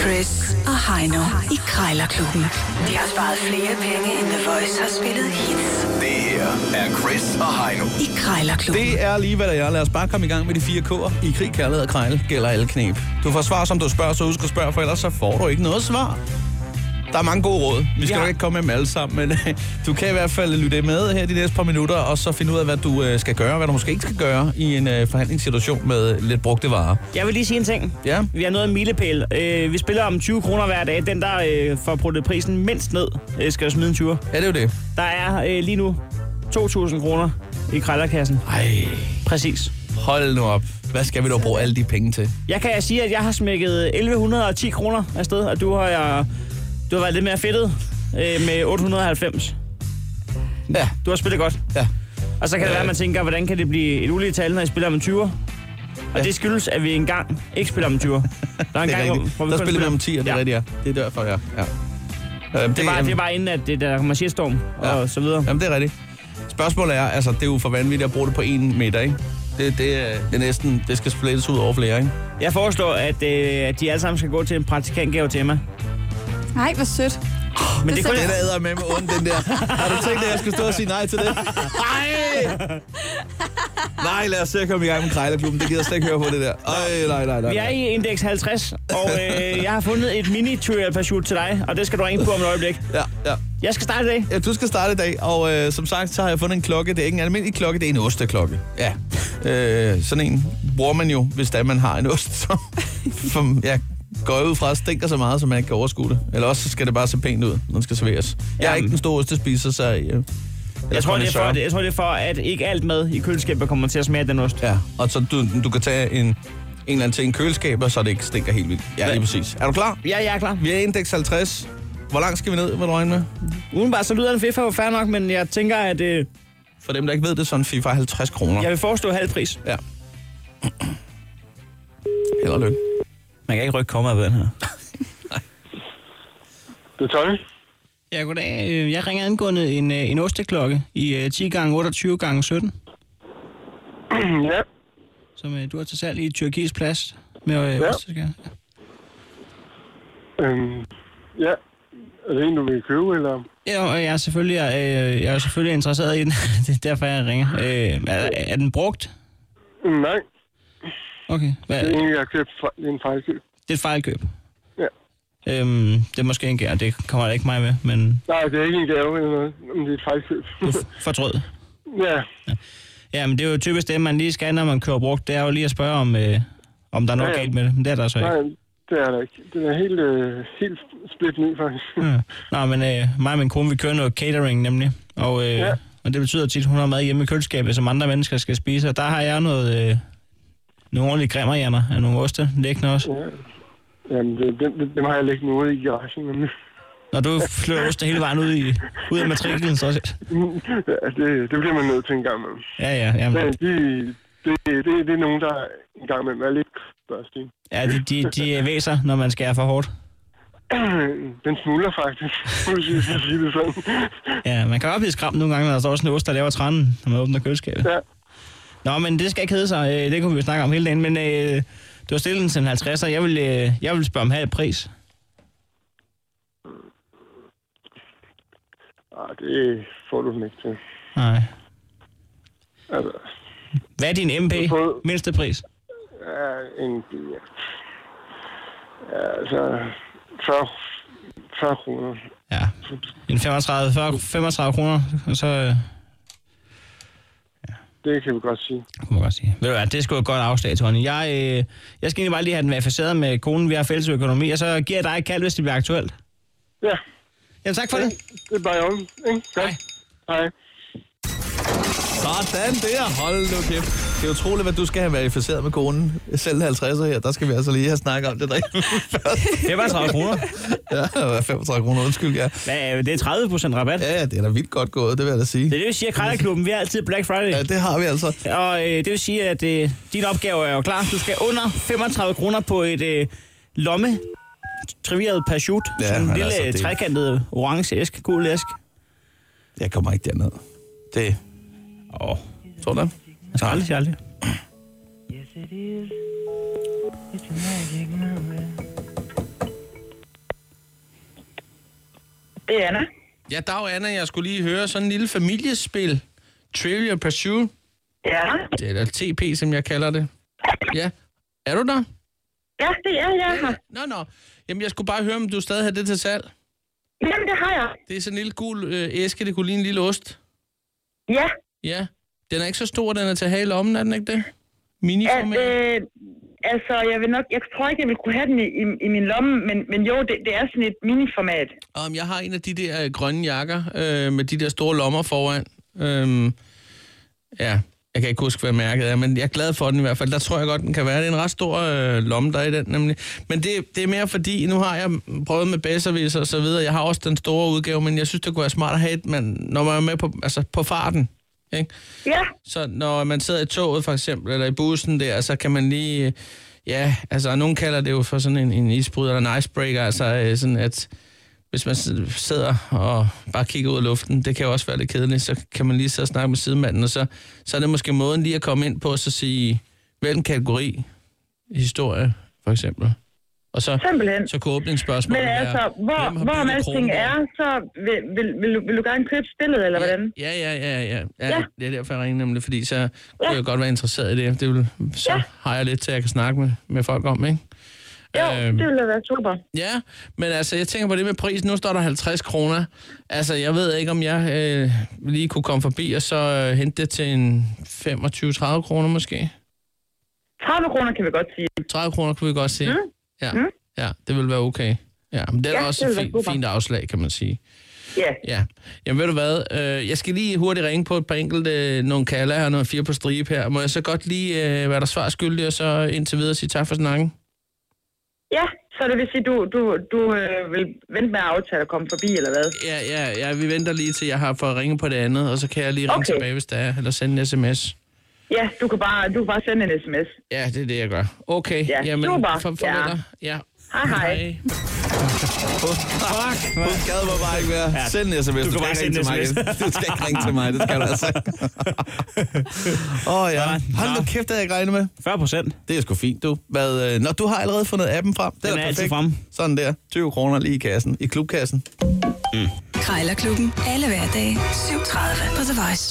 Chris og Heino i Krejlerklubben. De har sparet flere penge, end The Voice har spillet hits Det her er Chris og Heino. i Krejlerklubben. Det er lige, hvad der er. Lad os bare komme i gang med de fire K'er. I krig, kærlighed og krejl gælder alle knep. Du får svar, som du spørger, så husk at spørge, for ellers så får du ikke noget svar. Der er mange gode råd. Vi skal Ja. nok ikke komme med dem alle sammen, men øh, du kan i hvert fald lytte med her de næste par minutter, og så finde ud af, hvad du øh, skal gøre, og hvad du måske ikke skal gøre i en øh, forhandlingssituation med lidt brugte varer. Jeg vil lige sige en ting. Ja. Vi har noget en milepæl. Øh, vi spiller om 20 kroner hver dag. Den, der øh, får puttet prisen mindst ned, øh, skal jo smide en 20. Ja, det er jo det. Der er øh, lige nu 2.000 kroner i krællerkassen. Ej, Præcis. hold nu op. Hvad skal vi dog bruge alle de penge til? Jeg kan sige, at jeg har smækket 1110 kroner afsted, og du har, jeg, du har været lidt mere fedtet øh, med 890. Ja, Du har spillet godt. ja. Øh. Og så kan det være, at man tænker, hvordan kan det blive et ulige tal, når jeg spiller om 20'er? Og Ja. det skyldes, at vi engang ikke spiller om 20'er. Der er en Det gang, er hvor, rigtigt. hvor vi Der kun spiller vi om 10, og det er Ja. rigtigt, ja. Det er derfor, ja. ja. Øhm, Det var, det var inden, at det, der kommer shitstorm Ja. ja. og så videre. Jamen, det er rigtigt. Spørgsmålet er, altså, det er jo for vanvittigt at bruge det på en middag, ikke? Det, det, er- det er næsten, det skal splittes ud over flere, ikke? Jeg foreslår, at, øh, at de alle sammen skal gå til en praktikantgave til Emma. Nej, hvor sødt. Men det, Det er kun, Den der æder med med ondt, den der. Har du tænkt, at jeg skulle stå og sige nej til det? Nej! Nej, lad os se at komme i gang med Krejlerklubben. Det gider jeg slet ikke høre på, det der. Øj, nej, nej, nej. vi er nej. i indeks 50, og øh, jeg har fundet et mini trial parachute til dig, og det skal du ringe på om et øjeblik. Ja, ja. Jeg skal starte i dag. ja, du skal starte i dag, og øh, som sagt, så har jeg fundet en klokke. Det er ikke en almindelig klokke, det er en osteklokke. Ja, øh, sådan en bruger man jo, hvis da man har en ost, som, som ja, går jeg ud fra stinker så meget, så man ikke kan overskue det. Eller også så skal det bare se pænt ud, når den skal serveres. Jeg er Jamen. ikke den store ostespiser, så... Øh, eller Jeg tror, det er for, kondensør. at, jeg tror, det er for, at ikke alt mad i køleskabet kommer til at smage af den ost. Ja, og så du, du kan tage en, en eller anden ting i en køleskab, og så det ikke stinker helt vildt. Ja, Hvad? lige præcis. Er du klar? Ja, jeg er klar. Vi er i indeks 50. Hvor langt skal vi ned, vil du regne med? Udenbart så lyder den FIFA jo fair nok, men jeg tænker, at øh, For dem, der ikke ved det, så er en FIFA 50 kroner. jeg vil forestå halv pris. Ja. Held og lykke. Man kan ikke rykke komma ved den her. Det er Tommy. Ja, goddag. Øh, Jeg ringer angående en, øh, en osteklokke i øh, 10 gange 28 gange 17 ja, som øh, du har til salg i Tyrkiets Plads med øh, Ja. osteskær. øhm, ja. Er det en, du vil købe, eller? Ja, og jeg er selvfølgelig, øh, jeg er selvfølgelig interesseret i den. det er derfor, jeg ringer. Øh, er, er den brugt? Mm, Nej, Okay. Hvad, det det er en, jeg har købt. fra- Det er en fejlkøb. er et fejlkøb. Mm. Ja. Øhm, det er måske en gær, det kommer der ikke mig med, men Nej, det er ikke en gave eller noget, men det er et fejlkøb. du f- fortrød. ja, Ja, men det er jo typisk det, man lige skal, når man kører brugt. Det er jo lige at spørge, om, øh, om der er noget Ja, ja. galt med det. Men det er der så nej, ikke. det er der ikke. Den er helt, øh, helt splidt ny, faktisk. Ja. Nå, men øh, mig og min kone, vi kører noget catering nemlig. Og, øh, ja. Ja. og det betyder tit, hun har mad hjemme i køleskabet, som andre mennesker skal spise. Og der har jeg noget, øh, nogle ordentlige grimmerhjerner af nogle oste liggende også. ja. Jamen, det, dem, dem- dem har jeg lægget ude i garagen. Men, Når du flyver oste hele vejen ud, i, ud af matriklen, så... ja, det, det bliver man nødt til en gang imellem. Ja, ja, ja. Men Men, de, det, det, det er nogen, der en gang imellem er lidt børstige. ja de, de, de væser, når man skærer for hårdt. Den smuldrer faktisk, hvis jeg skal sige det sådan. Ja, man kan godt blive skræmt nogle gange, når der står sådan en ost, der laver trænen, når man åbner køleskabet. Ja. Nå, men det skal ikke hedde sig. Øh, Det kunne vi jo snakke om hele dagen. Men øh, du har stillet den til en 50'er. Jeg vil, øh, jeg vil spørge om halv pris. Ah, det får du den ikke til. Nej. Altså, Hvad er din MP? Prøv. Mindste pris? ja, en ja. ja, altså, 40, 40 kroner. Ja. En 35, 40, 35 kroner, og så... Øh, Det kan vi godt sige. kunne man godt sige. Ved du hvad, det skulle et godt afslag, Tony. Jeg, øh, jeg skal egentlig bare lige have den verificeret med konen. Vi har fælles økonomi, og så giver jeg dig et kald, hvis det bliver aktuelt. Ja, Jamen tak for det. det er bare i orden, ikke? Godt. Hej. Hej. Sådan der. Hold nu kæft. Det er utroligt, hvad du skal have verificeret med konen. Selv 50'er her, der skal vi altså lige have snakket om det derinde. først. 35 kroner. ja, 35 kroner, undskyld, ja. Hvad, er øh, det? det er 30 procent rabat. Ja, ja, det er da vildt godt gået, det vil jeg da sige. Det er det, vi siger, Krejlerklubben, vi har altid Black Friday. Ja, det har vi altså. Og øh, det vil sige, at øh, din opgave er jo klar. Du skal under 35 kroner på et øh, lomme trivieret parachute. Ja, sådan en men lille altså, det- altså, trekantet orange æsk, gul æsk. Jeg kommer ikke derned. Det... Åh, oh. tror du det? Man skal aldrig sige aldrig. Det er Anna. Ja, dag Anna, jeg skulle lige høre sådan en lille familiespil. Trivial Pursuit. Ja. Det er da TP, som jeg kalder det. Ja. Er du der? Ja, det er jeg her. Nå, nå. Jamen, jeg skulle bare høre, om du stadig har det til salg. Jamen, det har jeg. Det er sådan en lille gul øh, æske, det kunne ligne en lille ost. Ja. Ja. Den er ikke så stor, den er til at have i lommen, er den ikke det? At, Miniformat. øh, altså, jeg, vil nok, jeg tror ikke, jeg vil kunne have den i, i, i min lomme, men, men jo, det, det er sådan et miniformat. Om jeg har en af de der øh, grønne jakker øh, med de der store lommer foran. Øhm, ja, jeg kan ikke huske, hvad mærket er, men jeg er glad for den i hvert fald. Der tror jeg godt, den kan være. Det er en ret stor øh, lomme, der er i den nemlig. Men det, det er mere fordi, nu har jeg prøvet med Besservis og så videre. Jeg har også den store udgave, men jeg synes, det kunne være smart at have et, men når man er med på, altså på farten. Ikke? Ja, Så når man sidder i toget for eksempel, eller i bussen der, så kan man lige... øh, Ja, altså nogen kalder det jo for sådan en, en isbryder eller en icebreaker, altså øh, sådan at hvis man sid- sidder og bare kigger ud af luften, det kan jo også være lidt kedeligt, så kan man lige sidde og snakke med sidemanden, og så, så er det måske måden lige at komme ind på, og så sige, hvilken kategori, historie for eksempel. Og så, simpelthen. så kunne åbningsspørgsmålet Men altså, hvor, hvem har hvor bygget alting Kronborg? er, så vil, vil, vil, du- vil du gerne købe spillet, eller hvordan? Ja, ja, ja, ja. ja, ja. Ja. Det er derfor, jeg ringer nemlig, fordi så kunne jeg godt være interesseret i det. det vil, så Ja. har jeg lidt til, at jeg kan snakke med, med folk om, ikke? Jo, Øhm. det ville da være super. Ja, men altså, jeg tænker på det med prisen. Nu står der 50 kroner. Altså, jeg ved ikke, om jeg øh, lige kunne komme forbi og så øh, hente det til en 25-30 kroner måske. 30 kroner kan vi godt sige. 30 kroner kunne vi godt se. Mm. Ja. Mm. ja, det ville være okay. Ja, men det er Ja, ja, også det et ville være fint, super. fint afslag, kan man sige. Ja, Ja. Jamen ved du hvad, øh, jeg skal lige hurtigt ringe på et par enkelte, øh, nogle kalder og nogle fire på stribe her. Må jeg så godt lige øh, være der svar skyldig, og så indtil videre sige tak for snakken? ja så det vil sige, du, du, du øh, vil vente med at aftale at komme forbi, eller hvad? Ja, ja, ja, vi venter lige til, jeg har fået ringe på det andet, og så kan jeg lige ringe okay. Okay. tilbage, hvis der er, eller sende en sms. Ja, du kan bare, du kan bare sende en sms. Ja, det er det, jeg gør. Okay, Ja, jamen, super. for, for Ja. ja. ja. Hej, hej. Fuck, Hun mand. gad mig bare ikke være. Ja, Send en sms. du kan bare skal ikke sende ringe en til mig. Du skal ikke ringe til mig, det skal du altså. Åh oh, ja. Hold nu kæft, det havde jeg ikke regnet med. 40 procent. Det er sgu fint, du. Hvad, øh, når du har allerede fundet appen frem. Det Den da er altid perfekt. fremme. Sådan der. 20 kroner lige i kassen. I klubkassen. Krejlerklubben. Alle hverdage. 7.30 på The Voice.